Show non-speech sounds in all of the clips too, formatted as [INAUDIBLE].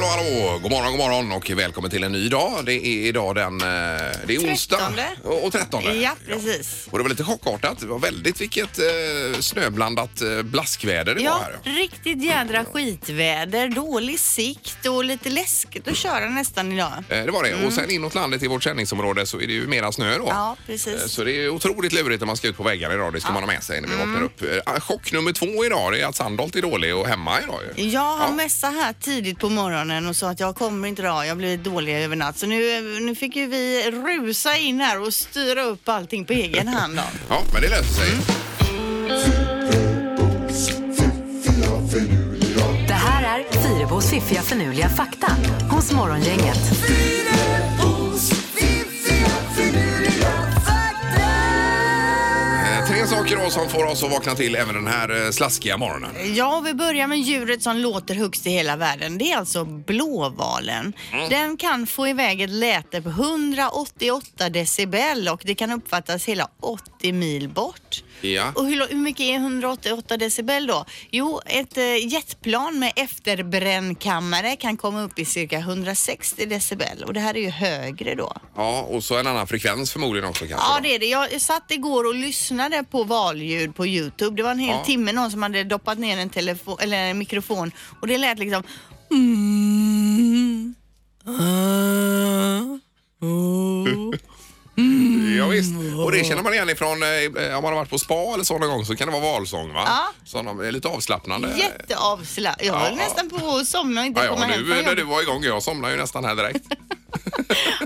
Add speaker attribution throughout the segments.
Speaker 1: God morgon, god morgon och välkommen till en ny dag. Det är idag den... eh, Det är onsdag.
Speaker 2: Trettonde.
Speaker 1: Och och trettonde.
Speaker 2: Ja, precis.
Speaker 1: Och det var lite chockartat. Det var väldigt vilket eh, snöblandat eh, blaskväder det var
Speaker 2: Ja,
Speaker 1: här.
Speaker 2: riktigt jädra skitväder, dålig sikt och lite läskigt att köra nästan idag.
Speaker 1: Eh, Det var det. Och sen inåt landet i vårt sändningsområde så är det ju mera snö då.
Speaker 2: Mm. Ja,
Speaker 1: Eh,
Speaker 2: precis.
Speaker 1: Så det är otroligt lurigt när man ska ut på vägarna idag. Det ska man ha med sig när vi
Speaker 2: Mm.
Speaker 1: vaknar upp. Eh, Chock nummer två idag det är att Sandholt är dålig och hemma idag ju.
Speaker 2: Jag har
Speaker 1: Ja.
Speaker 2: mässa här tidigt på morgonen och sa att jag kommer inte idag, jag blir dålig över natt. Så nu, nu fick ju vi rusa in här och styra upp allting på egen hand. Då.
Speaker 1: Ja, men det löser sig.
Speaker 3: Det här är Fyrebos fiffiga förnuliga fakta hos Morgongänget.
Speaker 1: Eh, Tre saker då som får oss att vakna till även den här eh, slaskiga morgonen.
Speaker 2: Ja, vi börjar med djuret som låter högst i hela världen. Det är alltså blåvalen. Den kan få iväg ett läte på 188 decibel och det kan uppfattas hela 80 mil bort.
Speaker 1: Ja.
Speaker 2: Och hur, lo- hur mycket är 188 decibel då? Jo, ett eh, jetplan med efterbrännkammare kan komma upp i cirka 160 decibel och det här är ju högre då.
Speaker 1: Ja, och så en annan frekvens förmodligen också kanske.
Speaker 2: Ja,
Speaker 1: då.
Speaker 2: det är det. Jag satt igår och lyssnade på valljud på Youtube. Det var en hel
Speaker 1: Ja.
Speaker 2: timme någon som hade doppat ner en, telefon, eller en mikrofon och det lät liksom...
Speaker 1: Mm. Ja, visst. Och det känner man igen ifrån eh, om man har varit på spa eller så någon gång så kan det vara valsång va?
Speaker 2: Ja.
Speaker 1: Så de är lite avslappnande.
Speaker 2: Jätteavslappnat. Jag höll
Speaker 1: Ja.
Speaker 2: nästan på att somna och inte
Speaker 1: Ja,
Speaker 2: komma
Speaker 1: ja,
Speaker 2: hem
Speaker 1: nu
Speaker 2: från
Speaker 1: när du
Speaker 2: jobbet.
Speaker 1: var igång, jag somnade ju nästan här
Speaker 2: [LAUGHS]
Speaker 1: direkt.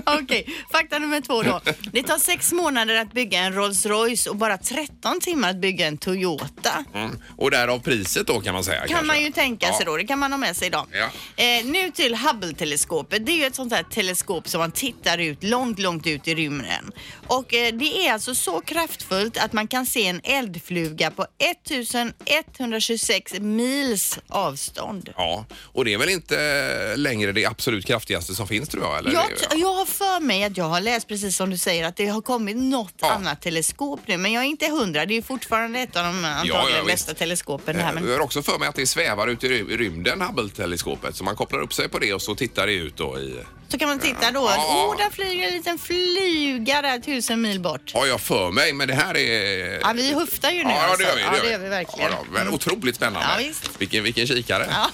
Speaker 2: Okej, fakta nummer två då. Det tar sex månader att bygga en Rolls Royce och bara 13 timmar att bygga en Toyota.
Speaker 1: Mm. Och därav priset då kan man säga.
Speaker 2: kan man ju tänka sig då. Det kan man ha med sig idag.
Speaker 1: Ja.
Speaker 2: Eh, nu till Hubble-teleskopet. Det är ju ett sånt här teleskop som man tittar ut långt, långt ut i rymden. Och eh, det är alltså så kraftfullt att man kan se en eldfluga på 1126 mils avstånd.
Speaker 1: Ja, och det är väl inte längre det absolut kraftigaste som finns tror jag? Eller?
Speaker 2: Jag,
Speaker 1: Det är ju-
Speaker 2: t- jag har för mig att jag har läst precis som du säger att det har kommit något
Speaker 1: Ja.
Speaker 2: annat teleskop nu men jag är inte hundra. Det är ju fortfarande ett av de antagligen
Speaker 1: ja, visst. Eh,
Speaker 2: bästa teleskopen det här. Men...
Speaker 1: Jag har också för mig att det svävar ute i ry- rymden, Hubble-teleskopet. Så man kopplar upp sig på det och så tittar det ut då i...
Speaker 2: Så kan man titta då.
Speaker 1: Ja.
Speaker 2: Åh, där flyger en liten flyga där tusen mil bort.
Speaker 1: Har jag för mig, men det här är...
Speaker 2: Ja, vi höftar ju nu
Speaker 1: Ja, ja, det gör vi.
Speaker 2: alltså. ja, det gör vi verkligen. Mm.
Speaker 1: Ja, då, men otroligt spännande.
Speaker 2: Ja, visst.
Speaker 1: Vilken, vilken kikare.
Speaker 2: Ja.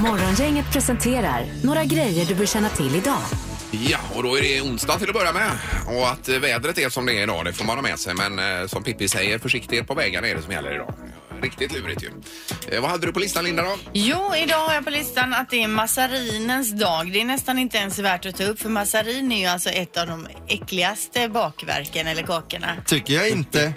Speaker 3: Morgongänget presenterar några grejer du bör känna till idag.
Speaker 1: Ja, och då är det onsdag till att börja med. Och att eh, vädret är som det är idag, det får man ha med sig. Men eh, som Pippi säger, försiktighet på vägarna är det som gäller idag. Riktigt lurigt ju. Eh, vad hade du på listan Linda då?
Speaker 2: Jo, idag har jag på listan att det är massarinens dag. Det är nästan inte ens värt att ta upp för massarin är ju alltså ett av de äckligaste bakverken eller kakorna.
Speaker 4: Tycker jag inte.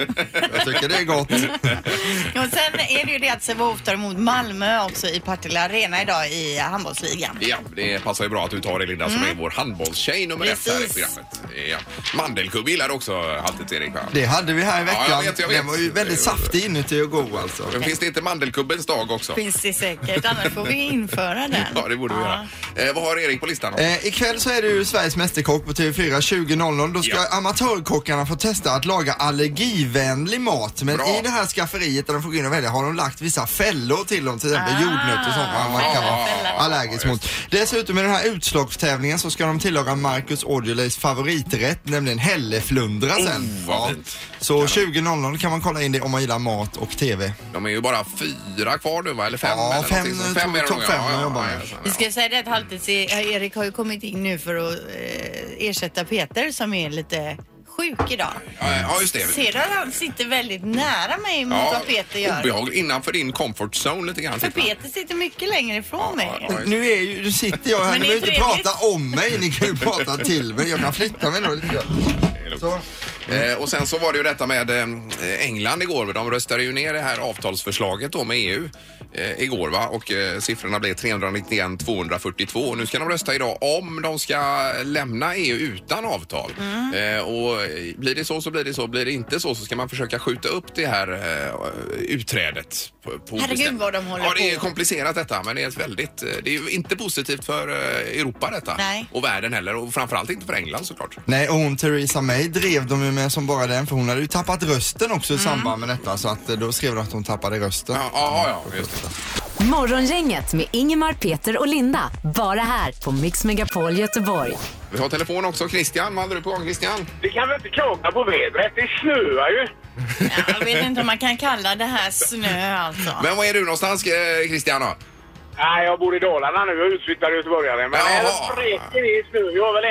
Speaker 4: Jag tycker det är gott.
Speaker 2: Och sen är det ju det att Sävehof tar emot Malmö också i Partille Arena idag i handbollsligan.
Speaker 1: Ja, det passar ju bra att du tar det Linda som är vår handbollstjej nummer ett här i
Speaker 2: Mm. Precis.
Speaker 1: programmet. Ja. Mandelkubb gillar du också alltid Erik va?
Speaker 4: Det hade vi här i
Speaker 1: Ja, jag
Speaker 4: veckan.
Speaker 1: vet, jag vet.
Speaker 4: Den var ju väldigt saftig inuti och god alltså.
Speaker 1: Men Finns det inte mandelkubbens dag också?
Speaker 2: Finns det säkert, annars får vi införa den.
Speaker 1: Ja, det borde vi göra. Eh, vad har Erik på listan då?
Speaker 4: Eh, ikväll så är det ju Sveriges Mästerkock på TV4 20.00. Då ska
Speaker 1: Ja.
Speaker 4: amatörkockarna få testa att laga allergivänlig mat. Men
Speaker 1: Bra.
Speaker 4: i det här skafferiet där de får gå in och välja har de lagt vissa fällor till dem, till exempel
Speaker 2: Ah.
Speaker 4: jordnötter och sånt vad man kan vara
Speaker 2: Fällor.
Speaker 4: allergisk mot. Dessutom i den här utslagstävlingen så ska de tillaga Marcus Aujalays favoriträtt, nämligen hälleflundra sen.
Speaker 1: Oh, vad
Speaker 4: Ja.
Speaker 1: fint.
Speaker 4: Så 20.00 kan man kolla in det om man gillar mat och TV.
Speaker 1: De är ju bara fyra kvar nu va? Eller fem?
Speaker 4: Ja,
Speaker 1: eller
Speaker 4: fem,
Speaker 1: någonting sånt.
Speaker 4: tror-
Speaker 1: är de
Speaker 4: topp
Speaker 1: nog,
Speaker 4: fem
Speaker 1: ja,
Speaker 4: de jobbar
Speaker 1: ja,
Speaker 4: med.
Speaker 1: ja,
Speaker 2: Vi
Speaker 1: ja.
Speaker 2: ska säga det att halvtids Erik har ju kommit in nu för att eh, ersätta Peter som är lite sjuk idag.
Speaker 1: Ja, Ja, just det.
Speaker 2: Ser du att han sitter väldigt nära mig mot vad Peter gör?
Speaker 1: obehaglig. Innanför din comfort zone lite grann.
Speaker 2: För
Speaker 1: tycker jag.
Speaker 2: Peter sitter mycket längre ifrån
Speaker 1: Ja,
Speaker 2: mig.
Speaker 1: ja, ja.
Speaker 4: Nu, är ju, nu sitter jag här,
Speaker 2: Men
Speaker 4: ni
Speaker 2: det är
Speaker 4: behöver inte
Speaker 2: trevligt.
Speaker 4: prata om mig, ni kan ju prata till mig. Jag kan flytta mig då lite grann. Så.
Speaker 2: Mm.
Speaker 1: Eh, och sen så var det ju detta med eh, England igår. De röstade ju ner det här avtalsförslaget då med EU eh, igår va? Och eh, siffrorna blev 391 242. Och nu ska de rösta idag om de ska lämna EU utan avtal.
Speaker 2: Mm.
Speaker 1: Eh, och eh, blir det så så blir det så. Blir det inte så så ska man försöka skjuta upp det här eh, utträdet. På, på
Speaker 2: Herregud,
Speaker 1: bestämt-
Speaker 2: vad de håller
Speaker 1: Ja, det är
Speaker 2: på.
Speaker 1: komplicerat detta men det är ett väldigt... eh, Det är ju inte positivt för eh, Europa detta.
Speaker 2: Nej. Mm.
Speaker 1: Och världen heller och framförallt inte för England såklart.
Speaker 4: Nej, och hon Theresa May drev de ju med som bara den för hon hade ju
Speaker 2: Mm.
Speaker 4: tappat rösten också i samband med detta så att eh, då skrev de att hon tappade rösten.
Speaker 1: Ja, ja, ja just det.
Speaker 3: Morgongänget med Ingemar, Peter och Linda. Bara här på Mix Megapol Göteborg.
Speaker 1: Vi har telefon också. Christian, vad hade du på gång Christian?
Speaker 5: Vi kan väl inte klaga på vädret, det snöar ju.
Speaker 2: Jag vet inte om man kan kalla det här snö alltså.
Speaker 1: Men var är du någonstans eh, Christian då?
Speaker 5: Nej, jag bor i Dalarna nu, jag är utflyttad göteborgare. Men
Speaker 1: Jaha.
Speaker 5: här vräker det i snö. Jag har väl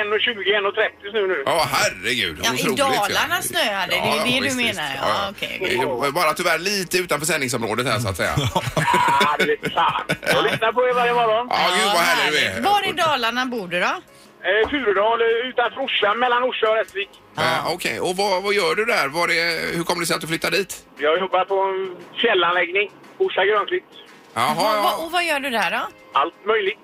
Speaker 5: 1,20-1,30 snö nu.
Speaker 1: Ja, herregud.
Speaker 2: Ja, i
Speaker 1: otroligt.
Speaker 2: Dalarna snöade det, det är det
Speaker 1: visst,
Speaker 2: du menar,
Speaker 1: visst.
Speaker 2: ja, okej, okej.
Speaker 1: Det är Bara tyvärr lite utanför sändningsområdet här så att säga.
Speaker 5: Ah, det vete fan. Jag lyssnar på er varje morgon.
Speaker 1: Ja, gud vad härlig du är.
Speaker 2: härligt. Var i Dalarna bor du då?
Speaker 5: Eh, Furudal eh, utanför Orsa, mellan Orsa och Rättvik.
Speaker 1: Eh, Okej, och vad, vad gör du där? Var det, hur kommer det sig att du flyttade dit?
Speaker 5: Jag jobbar på en fjällanläggning, Orsa Grönklitt.
Speaker 1: Jaha,
Speaker 2: Och vad-
Speaker 1: ja.
Speaker 2: Och vad gör du där då?
Speaker 5: Allt möjligt.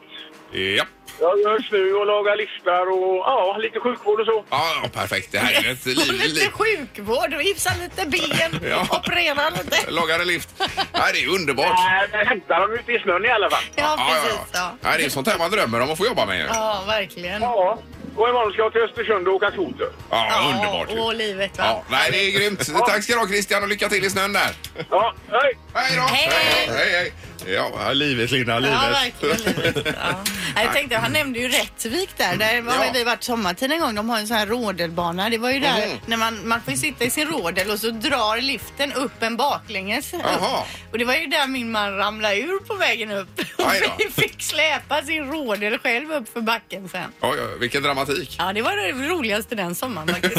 Speaker 1: Japp.
Speaker 5: Jag gör snö och lagar listar och ja, lite sjukvård och så.
Speaker 1: Ja, ja, perfekt. Det här är ett
Speaker 2: Går
Speaker 1: liv.
Speaker 2: lite
Speaker 1: liv.
Speaker 2: sjukvård och gipsar lite ben,
Speaker 1: [LAUGHS] Ja.
Speaker 2: opererar lite.
Speaker 1: Lagare lift. Nej, det är underbart.
Speaker 5: Nej, men hämtar dem ute i snön i alla fall.
Speaker 2: Ja,
Speaker 1: ja,
Speaker 2: precis.
Speaker 1: ja.
Speaker 2: Ja,
Speaker 1: Nej, det är sånt här man drömmer om att få jobba med. ju. Ja,
Speaker 2: ja verkligen.
Speaker 5: Ja, och imorgon ska jag till Östersund och åka skoter.
Speaker 2: Ja,
Speaker 1: underbart. ju.
Speaker 2: Och livet va?
Speaker 1: Ja, nej, det är grymt. Tack ska du ha Christian och lycka till i snön där.
Speaker 5: Ja, hej!
Speaker 1: Hej då!
Speaker 2: Hej, hej.
Speaker 1: hej, hej. Ja, livet Linda, livet.
Speaker 2: Ja, verkligen
Speaker 1: [LAUGHS]
Speaker 2: livet. Ja. Nej, Jag tänkte, han nämnde ju Rättvik där. Där har
Speaker 1: Ja.
Speaker 2: vi varit sommartid en gång. De har ju en sån här rodelbana. Det var ju där
Speaker 1: Mhm.
Speaker 2: när man, man får ju sitta i sin rodel och så drar liften upp en baklänges. upp.
Speaker 1: Jaha.
Speaker 2: Och det var ju där min man ramlade ur på vägen upp. [LAUGHS] Och
Speaker 1: Aj då.
Speaker 2: vi fick släpa sin rodel själv upp för backen sen.
Speaker 1: Oj, oj, vilken dramatik.
Speaker 2: Ja, det var det roligaste den
Speaker 1: [LAUGHS]
Speaker 2: sommaren faktiskt.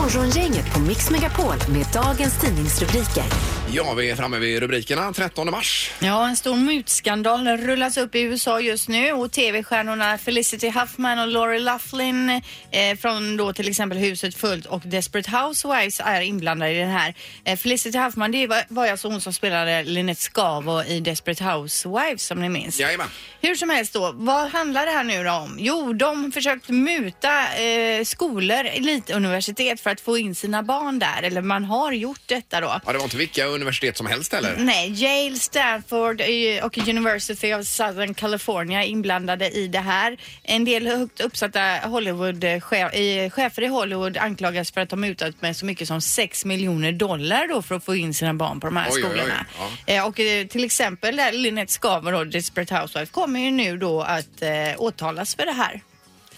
Speaker 3: Morgongänget på Mix Megapol med dagens tidningsrubriker.
Speaker 1: Ja, vi är framme vid rubrikerna. 13 mars.
Speaker 2: Ja, en stor mutskandal rullas upp i USA just nu och tv-stjärnorna Felicity Huffman och Lori Loughlin eh, från då till exempel Huset fullt och Desperate Housewives är inblandade i den här. Eh, Felicity Huffman, det var, var ju alltså hon som spelade Lynette Scavo i Desperate Housewives som ni minns.
Speaker 1: Jajamän.
Speaker 2: Hur som helst då, vad handlar det här nu då om? Jo, de försökt muta eh, skolor, elituniversitet för att få in sina barn där, eller man har gjort detta då.
Speaker 1: Ja, det var inte vilka universitet som helst heller.
Speaker 2: Nej, Yale, Stanford eh, och University of Southern California är inblandade i det här. En del högt uppsatta Hollywood eh, chef, eh, chefer i Hollywood anklagas för att de mutat med så mycket som 6 miljoner dollar då för att få in sina barn på de här
Speaker 1: Oj, oj, oj.
Speaker 2: skolorna.
Speaker 1: Ja.
Speaker 2: Eh, Och eh, till exempel där Lynette Skavern och Desperate Housewives kommer ju nu då att eh, åtalas för det här.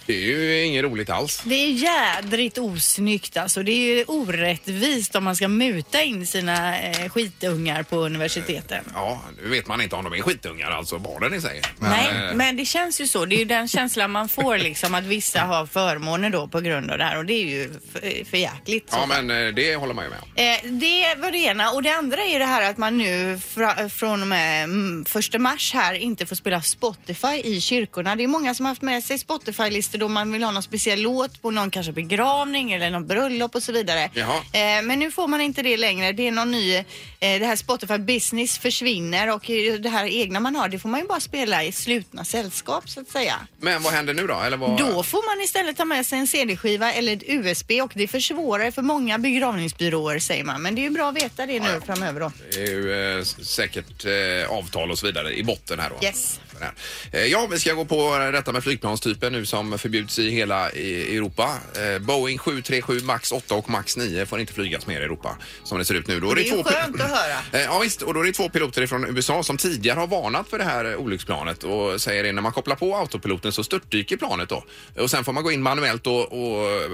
Speaker 1: Det är ju inget roligt alls.
Speaker 2: Det är jädrigt osnyggt alltså. Det är ju orättvist om man ska muta in sina eh, skitungar på universiteten.
Speaker 1: Ja, nu vet man inte om de är skitungar, alltså barnen i sig. Men,
Speaker 2: Nej,
Speaker 1: eh,
Speaker 2: men det känns ju så. Det är ju den känslan man får liksom att vissa har förmåner då på grund av det här och det är ju för, för jäkligt. så.
Speaker 1: Ja, men eh, det håller man ju med om.
Speaker 2: Eh, det var det ena och det andra är det här att man nu fra, från och med mm, första mars här inte får spela Spotify i kyrkorna. Det är många som har haft med sig Spotify-listor då man vill ha någon speciell låt på någon kanske begravning eller någon bröllop och så vidare.
Speaker 1: Jaha.
Speaker 2: Eh, men nu får man inte det längre. Det är någon ny, eh, det här Spotify Business försvinner och eh, det här egna man har det får man ju bara spela i slutna sällskap så att säga.
Speaker 1: Men vad händer nu då? Eller vad...
Speaker 2: Då får man istället ta med sig en CD-skiva eller ett USB och det försvårar för många begravningsbyråer säger man. Men det är ju bra att veta det nu framöver då.
Speaker 1: Det är ju eh, s- säkert eh, avtal och så vidare i botten här då.
Speaker 2: Yes.
Speaker 1: Den här. Eh, Ja, vi ska gå på eh, detta med flygplanstypen nu som förbjuds i hela i- Europa. Eh, Boeing 737 Max 8 och Max 9 får inte flygas mer i Europa som det ser ut nu. Då är
Speaker 2: Det är ju
Speaker 1: två pil-
Speaker 2: skönt att höra.
Speaker 1: [LAUGHS] Eh, Ja visst, och då är det två piloter från USA som tidigare har varnat för det här eh, olycksplanet och säger det när man kopplar på autopiloten så störtdyker planet då. Och sen får man gå in manuellt och, och eh,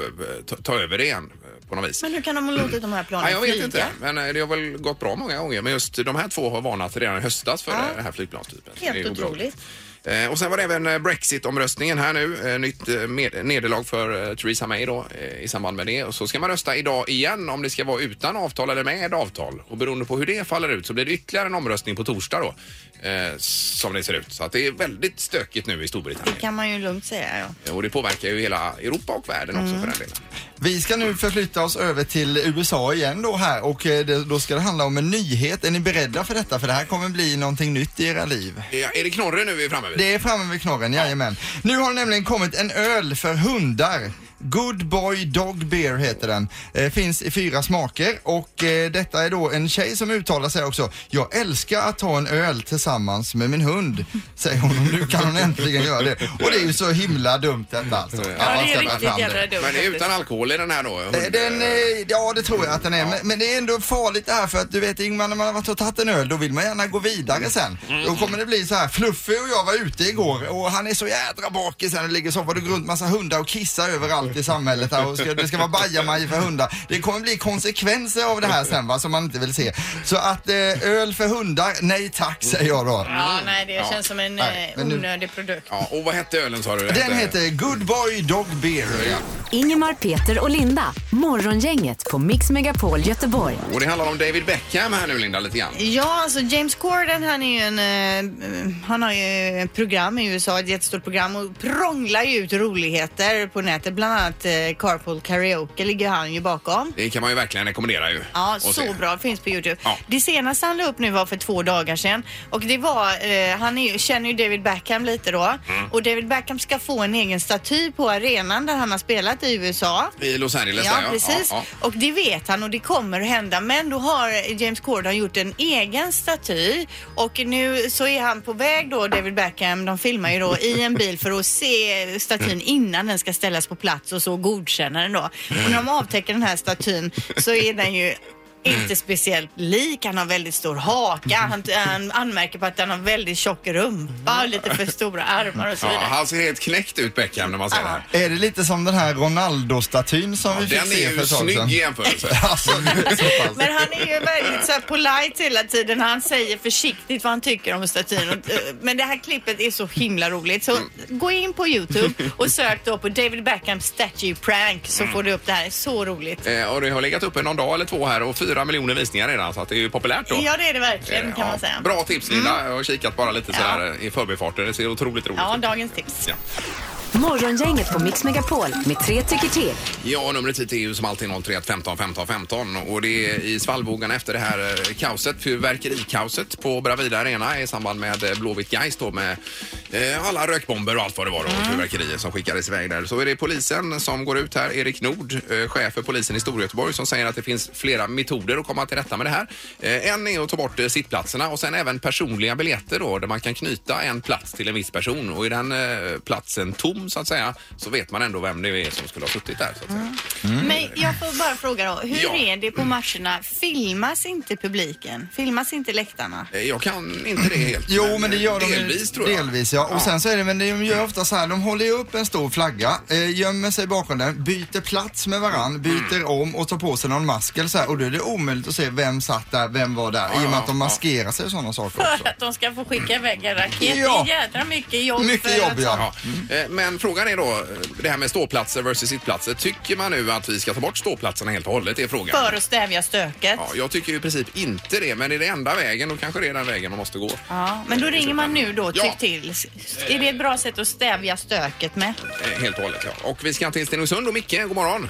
Speaker 1: ta, ta över det igen eh, på något vis.
Speaker 2: Men hur kan de ha låtit de här planen
Speaker 1: Nej, jag vet
Speaker 2: flyga?
Speaker 1: inte, men eh, det har väl gått bra många gånger. Men just de här två har varnat redan i höstas för
Speaker 2: Ja.
Speaker 1: eh, den här flygplanstypen.
Speaker 2: Helt
Speaker 1: Det är obehagligt.
Speaker 2: otroligt.
Speaker 1: Eh, Och sen var det även eh, Brexit-omröstningen här nu. Eh, Nytt eh, med- nederlag för eh, Theresa May då eh, i samband med det. Och så ska man rösta idag igen om det ska vara utan avtal eller med avtal. Och beroende på hur det faller ut så blir det ytterligare en omröstning på torsdag då. eh, Som det ser ut. Så att det är väldigt stökigt nu i Storbritannien.
Speaker 2: Det kan man ju lugnt säga ja.
Speaker 1: Eh, Och det påverkar ju hela Europa och världen också för
Speaker 2: Mm.
Speaker 1: den delen.
Speaker 4: [LAUGHS] Vi ska nu förflytta oss över till USA igen då här och eh, det- då ska det handla om en nyhet. Är ni beredda för detta? För det här kommer bli någonting nytt i era liv.
Speaker 1: Ja, Är det knorren nu vi är framme vid?
Speaker 4: Det är framme vid knorren, jajamän. Nu har det nämligen kommit en öl för hundar. Good Boy Dog Beer heter den. Eh, finns i fyra smaker och eh, detta är då en tjej som uttalar sig också. Jag älskar att ta en öl tillsammans med min hund, säger hon. Och Nu kan hon äntligen göra det. Och det är ju så himla dumt detta alltså.
Speaker 6: Ja,
Speaker 4: man
Speaker 6: det
Speaker 4: ska
Speaker 6: är
Speaker 4: dra
Speaker 6: riktigt
Speaker 4: fram
Speaker 6: jävla dumt.
Speaker 1: Men det är utan alkohol i den här då?
Speaker 4: Eh, Den, eh, ja det tror jag att den är. Men, men det är ändå farligt det här för att du vet Ingmar när man har varit och tagit en öl då vill man gärna gå vidare sen.
Speaker 1: Mm.
Speaker 4: Då kommer det bli så här. Fluffy och jag var ute igår och han är så jädra bakis sen och ligger så var det runt massa hundar och kissar överallt i samhället här och ska, det ska vara bajamaj för hundar. Det kommer bli konsekvenser av det här sen va som man inte vill se. Så att eh, öl för hundar, nej tack säger jag då.
Speaker 6: Ja, nej, det känns som en
Speaker 4: Nej,
Speaker 6: eh,
Speaker 4: men nu-
Speaker 6: onödig produkt.
Speaker 1: Ja, och vad hette ölen sa du?
Speaker 4: Den heter Good Boy Dog Beer.
Speaker 3: Ingemar, Peter och Linda. Morgongänget på Mix Megapol Göteborg.
Speaker 1: Och det handlar om David Beckham här nu Linda lite grann.
Speaker 2: Ja, alltså James Corden han är ju en, eh, han har ju ett program i USA, ett jättestort program och prånglar ju ut roligheter på nätet. Bland annat eh, Carpool Karaoke ligger han ju bakom.
Speaker 1: Det kan man ju verkligen rekommendera ju.
Speaker 2: Ja,
Speaker 1: att
Speaker 2: så
Speaker 1: se.
Speaker 2: bra. Finns på Youtube.
Speaker 1: Ja.
Speaker 2: Det senaste han la upp nu var för två dagar sedan och det var, eh, han är, ju- känner ju David Beckham lite då
Speaker 1: Mm.
Speaker 2: och David Beckham ska få en egen staty på arenan där han har spelat i USA.
Speaker 1: I Los Angeles
Speaker 2: Ja,
Speaker 1: där,
Speaker 2: precis.
Speaker 1: Ja, ja.
Speaker 2: Och det vet han och det kommer att hända. Men då har James Corden gjort en egen staty och nu så är han på väg då, David Beckham, de filmar ju då i en bil för att se statyn innan den ska ställas på plats och så godkänner den då. Och när de avtäcker den här statyn så är den ju inte speciellt lik, han har väldigt stor haka, han, han anmärker på att han har väldigt tjock rumpa och lite för stora armar och så
Speaker 1: Ja,
Speaker 2: vidare.
Speaker 1: han ser helt knäckt ut Beckham när man ser det här.
Speaker 4: Är det lite som den här Ronaldo-statyn som vi fick
Speaker 1: Den
Speaker 4: se
Speaker 1: är
Speaker 4: för
Speaker 1: ju
Speaker 4: ett tag
Speaker 1: snygg
Speaker 4: sedan?
Speaker 1: i jämförelse.
Speaker 4: Alltså, så pass.
Speaker 2: Men han är ju väldigt så här polite hela tiden. Han säger försiktigt vad han tycker om statyn. Och, eh, Men det här klippet är så himla roligt. Så gå in på Youtube och sök då på David Beckham Statue Prank så får du upp det här. Så roligt.
Speaker 1: Eh, och det har legat uppe någon dag eller två här och fyra miljoner visningar redan så att det är ju populärt då.
Speaker 2: Ja, det är det verkligen
Speaker 1: Eh,
Speaker 2: kan man
Speaker 1: ja.
Speaker 2: säga. Mm.
Speaker 1: Bra tips Linda. Jag har kikat bara lite så här eh, i förbifarten. Det ser otroligt roligt
Speaker 2: Ja,
Speaker 1: ut.
Speaker 2: dagens tips.
Speaker 1: Ja.
Speaker 3: Morgongänget på Mix Megapol med tre tycker till.
Speaker 1: Ja, numret hit är ju som alltid 031 15 15 15 och det är i svallvågan efter det här eh, kaoset, fyrverkerikaoset på Bravida Arena i samband med eh, Blåvitt Gais då med eh, alla rökbomber och allt vad det var då, och fyrverkerier som skickades iväg där. Så är det polisen som går ut här, Erik Nord, eh, chef för polisen i Storgöteborg som säger att det finns flera metoder att komma till rätta med det här. Eh, En är att ta bort eh, sittplatserna och sen även personliga biljetter då där man kan knyta en plats till en viss person och är den eh, platsen tom så att säga så vet man ändå vem det är som skulle ha suttit där. Så att säga.
Speaker 4: Mm.
Speaker 2: Men jag får bara fråga då. Hur
Speaker 1: Ja.
Speaker 2: är det på matcherna? Filmas inte publiken? Filmas inte läktarna?
Speaker 1: Eh, Jag kan inte det helt. eh,
Speaker 4: Jo, men det gör de ju-
Speaker 1: Delvis tror jag.
Speaker 4: Delvis, ja. Och
Speaker 1: Ja.
Speaker 4: sen så är det, men de gör ofta så här, de håller ju upp en stor flagga, eh, gömmer sig bakom den, byter plats med
Speaker 1: Mm.
Speaker 4: varann, byter om och tar på sig någon mask eller så här. Och då är det omöjligt att se vem satt där, vem var där, i och
Speaker 1: ja,
Speaker 4: med att de
Speaker 1: ja.
Speaker 4: maskerar sig och sådana saker också.
Speaker 6: För att de ska få skicka iväg en raket.
Speaker 4: Ja.
Speaker 6: Det är jädra mycket jobb.
Speaker 4: Mycket
Speaker 6: för
Speaker 4: jobb,
Speaker 6: att-
Speaker 4: ja.
Speaker 1: Ja. Eh, Men frågan är då, eh, det här med ståplatser versus sittplatser. Tycker man nu att vi ska ta bort ståplatserna helt och hållet? Det är frågan.
Speaker 2: För att stävja stöket?
Speaker 1: Ja, jag tycker ju i princip inte det, men är det enda vägen då kanske det är den vägen man måste gå.
Speaker 2: Ja, men då ringer man nu då,
Speaker 1: Ja.
Speaker 2: tyck till. Är det ett bra sätt att stävja stöket med?
Speaker 1: Eh, Helt och hållet, ja. Och vi ska till Stenungsund och Micke, god morgon.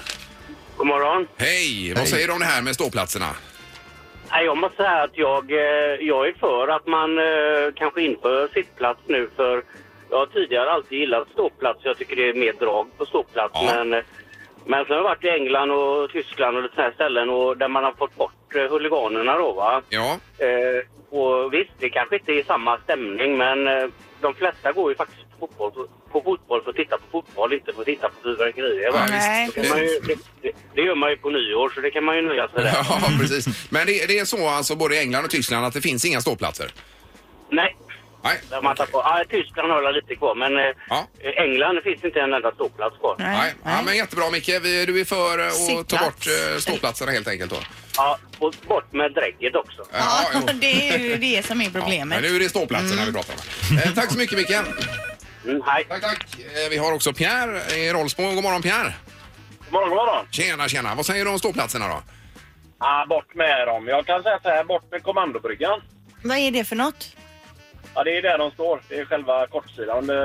Speaker 5: God morgon.
Speaker 1: Hej! Vad säger du om det här med ståplatserna?
Speaker 5: Nej, jag måste säga att jag, eh, jag är för att man eh, kanske inför sittplats nu för jag har tidigare alltid gillat ståplats. Jag tycker det är mer drag på ståplats.
Speaker 1: Ja.
Speaker 5: Men, eh, men sen har jag varit i England och Tyskland och lite sådana här ställen och där man har fått bort eh, huliganerna då va.
Speaker 1: Ja,
Speaker 5: Eh, och visst, det kanske inte är samma stämning men eh, de flesta går ju faktiskt på fotboll, på fotboll för att titta på fotboll, inte för att titta på fyrverkerier. va?
Speaker 1: ja
Speaker 2: Nej.
Speaker 1: visst.
Speaker 5: Det, kan man ju- det, det, det gör man ju på nyår så det kan man ju nöja sig med.
Speaker 1: [LAUGHS] Ja, precis. Men det, det är så alltså både i England och Tyskland att det finns inga ståplatser?
Speaker 5: Nej.
Speaker 1: Nej.
Speaker 5: Där man tar på. Ja, Tyskland har jag lite kvar, men eh,
Speaker 1: Ja.
Speaker 5: England finns inte en enda ståplats kvar.
Speaker 1: Nej. Ja, men jättebra Micke, vi, du är för eh, att ta
Speaker 2: Sittplats.
Speaker 1: bort eh, ståplatserna helt enkelt då?
Speaker 5: Ja, och bort med drägget också.
Speaker 2: Ja,
Speaker 1: jo.
Speaker 2: [LAUGHS] det är ju det som är
Speaker 1: Ja,
Speaker 2: problemet.
Speaker 1: men nu är det ståplatserna vi pratar om. Eh, tack så mycket Micke.
Speaker 5: Mm, hej.
Speaker 1: Tack, tack. Eh, vi har också Pierre i Rollsbo. God morgon Pierre.
Speaker 5: Morgon, morgon.
Speaker 1: Tjena, tjena. Vad säger du om ståplatserna då?
Speaker 5: Ja, bort med dem. Jag kan säga så här, bort med kommandobryggan.
Speaker 2: Vad är det för något?
Speaker 5: Ja, det är där de står. Det är själva kortsidan eh,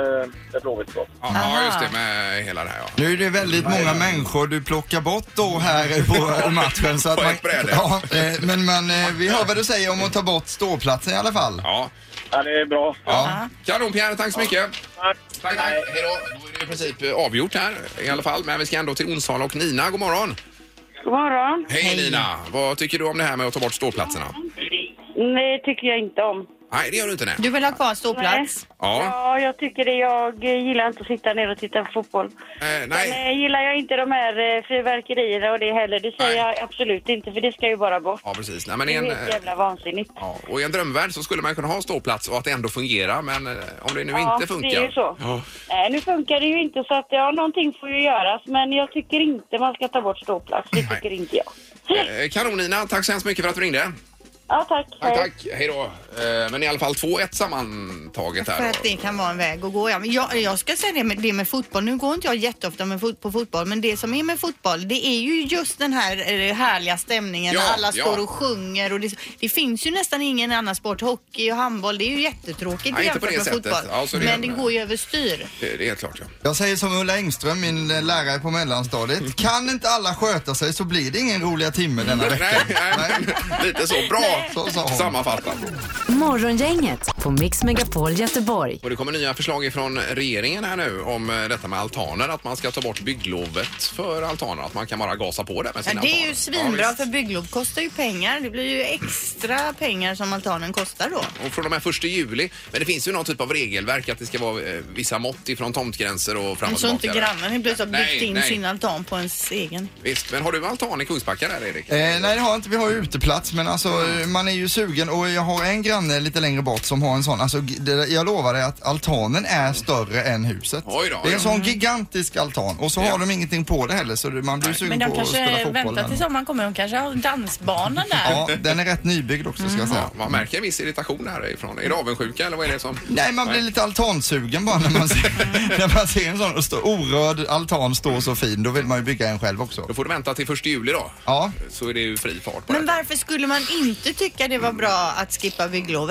Speaker 5: där Blåvitt står.
Speaker 1: Ja, just det med hela det här ja.
Speaker 4: Nu är det väldigt många människor du plockar bort då här på matchen. Så att
Speaker 1: På
Speaker 4: man,
Speaker 1: ett bräde.
Speaker 4: ja, eh, men man, eh, vi hör vad du säger om att ta bort ståplatsen i alla fall.
Speaker 1: Ja.
Speaker 5: Ja, det är bra.
Speaker 4: Ja.
Speaker 1: Kanon Pierre, tack så mycket.
Speaker 5: Tack.
Speaker 1: Tack, tack. Hej då. Då är det i princip eh, avgjort här i alla fall. Men vi ska ändå till Onsala och Nina. God morgon.
Speaker 7: God morgon.
Speaker 1: Hej, Nina. Vad tycker du om det här med att ta bort ståplatserna?
Speaker 7: Nej, det tycker jag inte om.
Speaker 1: Nej, det gör du inte. Nej.
Speaker 2: Du vill ha kvar ståplats?
Speaker 7: Nej.
Speaker 1: Ja.
Speaker 7: ja, jag tycker det. Jag eh, gillar inte att sitta ner och titta på fotboll.
Speaker 1: Eh,
Speaker 7: Sen
Speaker 1: nej.
Speaker 7: eh, gillar jag inte de här eh, fyrverkerierna och det heller. Det säger
Speaker 1: Nej.
Speaker 7: jag absolut inte, för det ska ju bara bort.
Speaker 1: Ja, precis. Nej, men
Speaker 7: Det
Speaker 1: i
Speaker 7: är
Speaker 1: en,
Speaker 7: helt
Speaker 1: eh,
Speaker 7: jävla vansinnigt.
Speaker 1: ja, och I en drömvärld så skulle man kunna ha ståplats och att det ändå fungerar. Men eh, om det nu
Speaker 7: Ja,
Speaker 1: inte funkar.
Speaker 7: det är ju så.
Speaker 1: Ja.
Speaker 7: Nej, nu funkar det ju inte så att ja, någonting får ju göras. Men jag tycker inte man ska ta bort ståplats. Det tycker inte jag.
Speaker 1: Eh, Kanon Nina, tack så hemskt mycket för att du ringde.
Speaker 7: Ja, tack.
Speaker 1: Tack,
Speaker 7: Hej.
Speaker 1: tack. Hej då. Eh, Men i alla fall 2-1 sammantaget
Speaker 2: För
Speaker 1: här.
Speaker 2: att
Speaker 1: då.
Speaker 2: det kan vara en väg att gå. Ja, men jag, jag ska säga det med, det med fotboll. Nu går inte jag jätteofta med fot, på fotboll, men det som är med fotboll, det är ju just den här eh, härliga stämningen
Speaker 1: Ja,
Speaker 2: när alla
Speaker 1: ja.
Speaker 2: står och sjunger. Och det, det finns ju nästan ingen annan sport. Hockey och handboll, det är ju jättetråkigt
Speaker 1: Nej, inte på
Speaker 2: jämfört
Speaker 1: det
Speaker 2: med
Speaker 1: sättet.
Speaker 2: fotboll.
Speaker 1: Ja, så det är
Speaker 2: men det
Speaker 1: en-
Speaker 2: går ju överstyr.
Speaker 1: Det det är helt klart, ja.
Speaker 4: Jag säger som Ulla Engström, min eh, lärare på mellanstadiet. Kan inte alla sköta sig så blir det ingen roliga timme denna vecka.
Speaker 1: Nej, nej, lite så. Bra
Speaker 4: Så sa hon.
Speaker 1: sammanfattat.
Speaker 3: Morgongänget på Mix Megapol Göteborg.
Speaker 1: Och det kommer nya förslag ifrån regeringen här nu om eh, detta med altaner, att man ska ta bort bygglovet för altaner, att man kan bara gasa på det med
Speaker 2: Ja,
Speaker 1: sina
Speaker 2: det är
Speaker 1: altaner.
Speaker 2: ju svinbra
Speaker 1: Ja,
Speaker 2: för
Speaker 1: visst.
Speaker 2: bygglov kostar ju pengar. Det blir ju extra pengar som altanen kostar då.
Speaker 1: och från och med 1 juli. Men det finns ju någon typ av regelverk att det ska vara eh, vissa mått ifrån tomtgränser och fram och
Speaker 2: Så inte
Speaker 1: tillbaka. där.
Speaker 2: grannen helt plötsligt har
Speaker 1: Nej,
Speaker 2: byggt in
Speaker 1: nej.
Speaker 2: sin altan på ens egen.
Speaker 1: Visst, men har du altan i Kungsbacka där Erik?
Speaker 4: Eh, nej det har jag inte, vi har ju uteplats men alltså eh, man är ju sugen och jag har en granne lite längre bort som har en sån, alltså g- det, jag lovar dig att altanen är större än huset.
Speaker 1: Oj då,
Speaker 4: det är en
Speaker 1: ja.
Speaker 4: sån gigantisk altan och så
Speaker 1: Ja.
Speaker 4: har de ingenting på det heller så det- man blir ju
Speaker 6: Men
Speaker 4: sugen
Speaker 6: de
Speaker 4: på att spela
Speaker 6: kanske
Speaker 4: fotboll.
Speaker 6: väntar
Speaker 4: där.
Speaker 6: till sommaren kommer. De kanske har dansbanan där.
Speaker 4: Ja, den är rätt nybyggd också ska jag säga.
Speaker 1: Ja, man märker en viss irritation härifrån. Är det avundsjuka eller vad är det som...
Speaker 4: Nej, man blir lite altansugen bara när
Speaker 1: [LAUGHS]
Speaker 4: man ser,
Speaker 1: Mm.
Speaker 4: när man ser en sån stå- orörd altan stå så fin. Då vill man ju bygga en själv också.
Speaker 1: Då får du vänta till 1 juli då.
Speaker 4: Ja.
Speaker 1: Så är det ju fri fart på
Speaker 2: Men
Speaker 1: det.
Speaker 2: varför skulle man inte tycka det var bra att skippa bygglovet?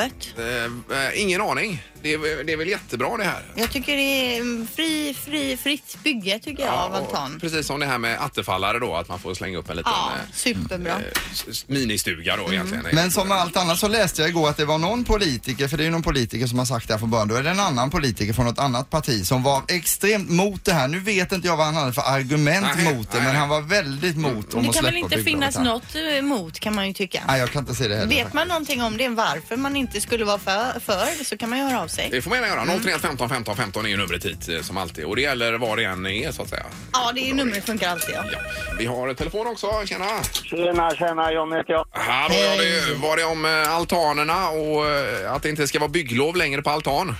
Speaker 1: Eh, eh, ingen aning. Det är, det är väl jättebra det här?
Speaker 2: Jag tycker det är mm, fri, fri, fritt bygge tycker jag av
Speaker 1: och
Speaker 2: altan.
Speaker 1: Precis som det här med attefallare då, att man får slänga upp en liten
Speaker 2: Ja, Mm.
Speaker 1: eh,
Speaker 2: superbra.
Speaker 1: eh, s- s- ministuga då egentligen.
Speaker 4: Men som med allt annat så läste jag igår att det var någon politiker, för det är ju någon politiker som har sagt det här från början, då är det en annan politiker från något annat parti som var extremt mot det här. Nu vet inte jag vad han hade för argument
Speaker 1: Nej,
Speaker 4: mot det,
Speaker 1: nej. Mm.
Speaker 4: men han var väldigt mot om
Speaker 6: Det
Speaker 4: att
Speaker 6: kan
Speaker 4: släppa
Speaker 6: väl inte
Speaker 4: bygglovet
Speaker 6: finnas
Speaker 4: här.
Speaker 6: något...
Speaker 2: Något eh, emot kan man ju tycka.
Speaker 4: Nej, jag kan inte se det heller.
Speaker 2: Vet man någonting om det, varför man inte skulle vara för, för så kan man ju höra av sig.
Speaker 1: Det får man gärna
Speaker 2: Mm.
Speaker 1: göra. 031 15 15 15 är ju numret hit eh, som alltid. Och det gäller var det än är så att säga.
Speaker 2: Ja, det är numret funkar alltid. Ja.
Speaker 1: Ja. Vi har ett telefon också. Tjena!
Speaker 5: Tjena, tjena. John heter jag.
Speaker 1: Hallå, ja, det var det om eh, altanerna och eh, att det inte ska vara bygglov längre på altan.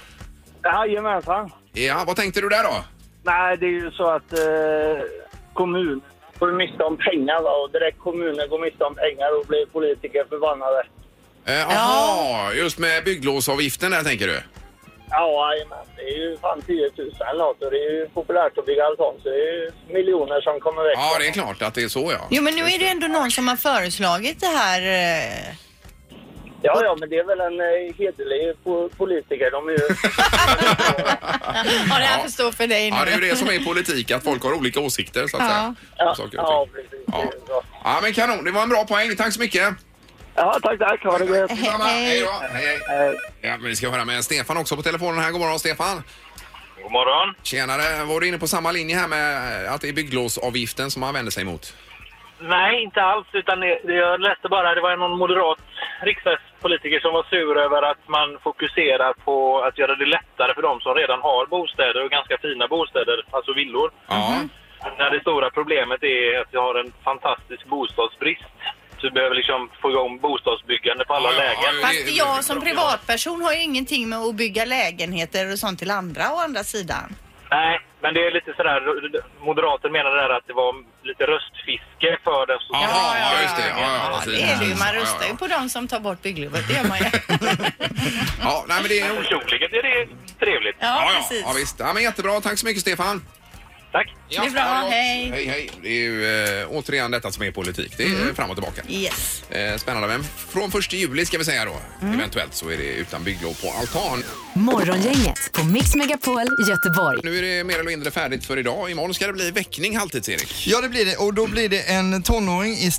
Speaker 5: Jajamensan.
Speaker 1: Ja, vad tänkte du där då?
Speaker 5: Nej, det är ju så att eh, kommun går miste om pengar va? och direkt kommunen går miste om pengar och blir politiker förbannade.
Speaker 1: Eh, Jaha, just med bygglovsavgiften där tänker du?
Speaker 5: Ja, jajamän. Det är ju fan 10 000 eller något och det är ju populärt att bygga altan så det är ju miljoner som kommer väck.
Speaker 1: Ja, det är klart att det är så ja.
Speaker 2: Jo, men nu är det ändå någon som har föreslagit det här. eh,
Speaker 5: Ja, ja, men det är väl en eh, hederlig po- politiker. De
Speaker 1: [LAUGHS]
Speaker 5: är ju...
Speaker 6: Ja, det
Speaker 1: Ja.
Speaker 6: här förstår för dig nu.
Speaker 1: Ja, det är ju det som är politik, att folk har olika åsikter så att säga. om
Speaker 5: Ja,
Speaker 1: saker och ting.
Speaker 5: ja precis.
Speaker 1: Ja.
Speaker 5: Det är bra.
Speaker 1: Ja, men kanon. Det var en bra poäng. Tack så mycket.
Speaker 5: Ja, tack, tack. Ha det gött.
Speaker 1: Detsamma. Hej då. Hej, hej.
Speaker 5: Eh,
Speaker 1: Ja, men vi ska höra med Stefan också på telefonen här. God morgon, Stefan.
Speaker 8: God morgon.
Speaker 1: Tjenare. Var du inne på samma linje här med att det är bygglovsavgiften som man vänder sig mot?
Speaker 8: Nej, inte alls. Utan det, det- jag läste bara, det var någon moderat riksdagspolitiker som var sur över att man fokuserar på att göra det lättare för de som redan har bostäder och ganska fina bostäder, alltså villor.
Speaker 2: Mhm.
Speaker 1: Ja.
Speaker 8: När det stora problemet är att vi har en fantastisk bostadsbrist. Så vi behöver liksom få igång bostadsbyggande på alla
Speaker 1: Ja, ja,
Speaker 8: lägen.
Speaker 1: ja,
Speaker 2: Fast jag som privatperson har ju ingenting med att bygga lägenheter och sånt till andra å andra sidan.
Speaker 8: Nej, men det är lite sådär, moderater menade där att det var lite röstfiske för den som...
Speaker 1: Jaha, ja, just det. Ja, ja,
Speaker 2: Ja,
Speaker 1: precis.
Speaker 2: det är det ju. Man röstar
Speaker 1: Ja,
Speaker 2: ju
Speaker 1: ja,
Speaker 2: på de som tar bort bygglovet. Det gör
Speaker 1: [LAUGHS]
Speaker 2: man ju.
Speaker 1: ja. Ja, nej, men det är...
Speaker 8: Personligen är det trevligt.
Speaker 1: Ja,
Speaker 2: Ja,
Speaker 1: ja,
Speaker 2: precis.
Speaker 1: ja, visst. Ja, men jättebra. Tack så mycket, Stefan.
Speaker 5: Tack!
Speaker 1: Ja,
Speaker 2: Det är bra,
Speaker 1: ja, ja.
Speaker 2: hej.
Speaker 1: Hej, hej. Det är ju eh, återigen detta som är politik. Det är
Speaker 2: Mhm.
Speaker 1: eh, fram och tillbaka.
Speaker 9: Yes.
Speaker 1: Eh, spännande. Men från 1 juli ska vi säga då.
Speaker 10: Mm.
Speaker 1: Eventuellt så är det utan bygglov på altan.
Speaker 11: Morgongänget på Mix Megapol Göteborg.
Speaker 1: Nu är det mer eller mindre färdigt för idag. Imorgon ska det bli väckning halvtids-Erik.
Speaker 4: Ja, det blir det. Och då blir det en tonåring i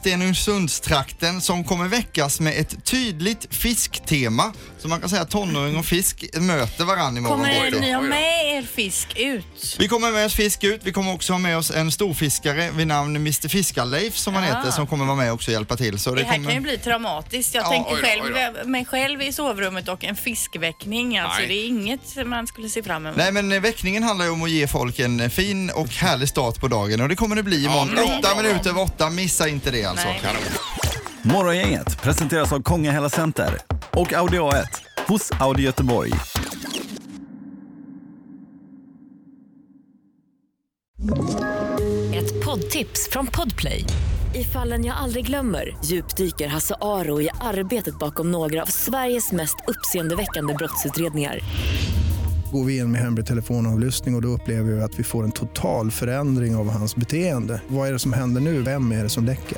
Speaker 4: Stenungsundstrakten som kommer väckas med ett tydligt fisktema. Så man kan säga att tonåring och fisk möter varandra imorgon.
Speaker 2: Kommer
Speaker 1: Oj då,
Speaker 2: ni ha
Speaker 1: oj då.
Speaker 2: med er fisk ut?
Speaker 4: Vi kommer med oss fisk ut. Vi kommer också ha med oss en storfiskare vid namn Mr Fiskarleif som han
Speaker 2: Ja.
Speaker 4: heter som kommer vara med också och hjälpa till. Så det,
Speaker 2: Det här
Speaker 4: kommer...
Speaker 2: kan ju bli traumatiskt. Jag
Speaker 4: Ja,
Speaker 2: tänker
Speaker 1: oj då, oj då.
Speaker 2: själv, mig själv i sovrummet och en fiskväckning. Alltså
Speaker 1: Nej.
Speaker 2: det är inget man skulle se fram emot.
Speaker 4: Nej men eh, väckningen handlar ju om att ge folk en eh, fin och härlig start på dagen och det kommer det bli imorgon.
Speaker 1: bra,
Speaker 4: åtta
Speaker 1: bra, bra.
Speaker 4: minuter över åtta, missa inte det alltså.
Speaker 2: Nej.
Speaker 1: Kanon.
Speaker 12: Morgongänget presenteras av Kongahälla Center och Audi A1 hos Audi Göteborg.
Speaker 3: Ett poddtips från Podplay. I fallen jag aldrig glömmer djupdyker Hasse Aro i arbetet bakom några av Sveriges mest uppseendeväckande brottsutredningar.
Speaker 10: Går vi in med hemlig telefonavlyssning och, och då upplever vi att vi får en total förändring av hans beteende. Vad är det som händer nu? Vem är det som läcker?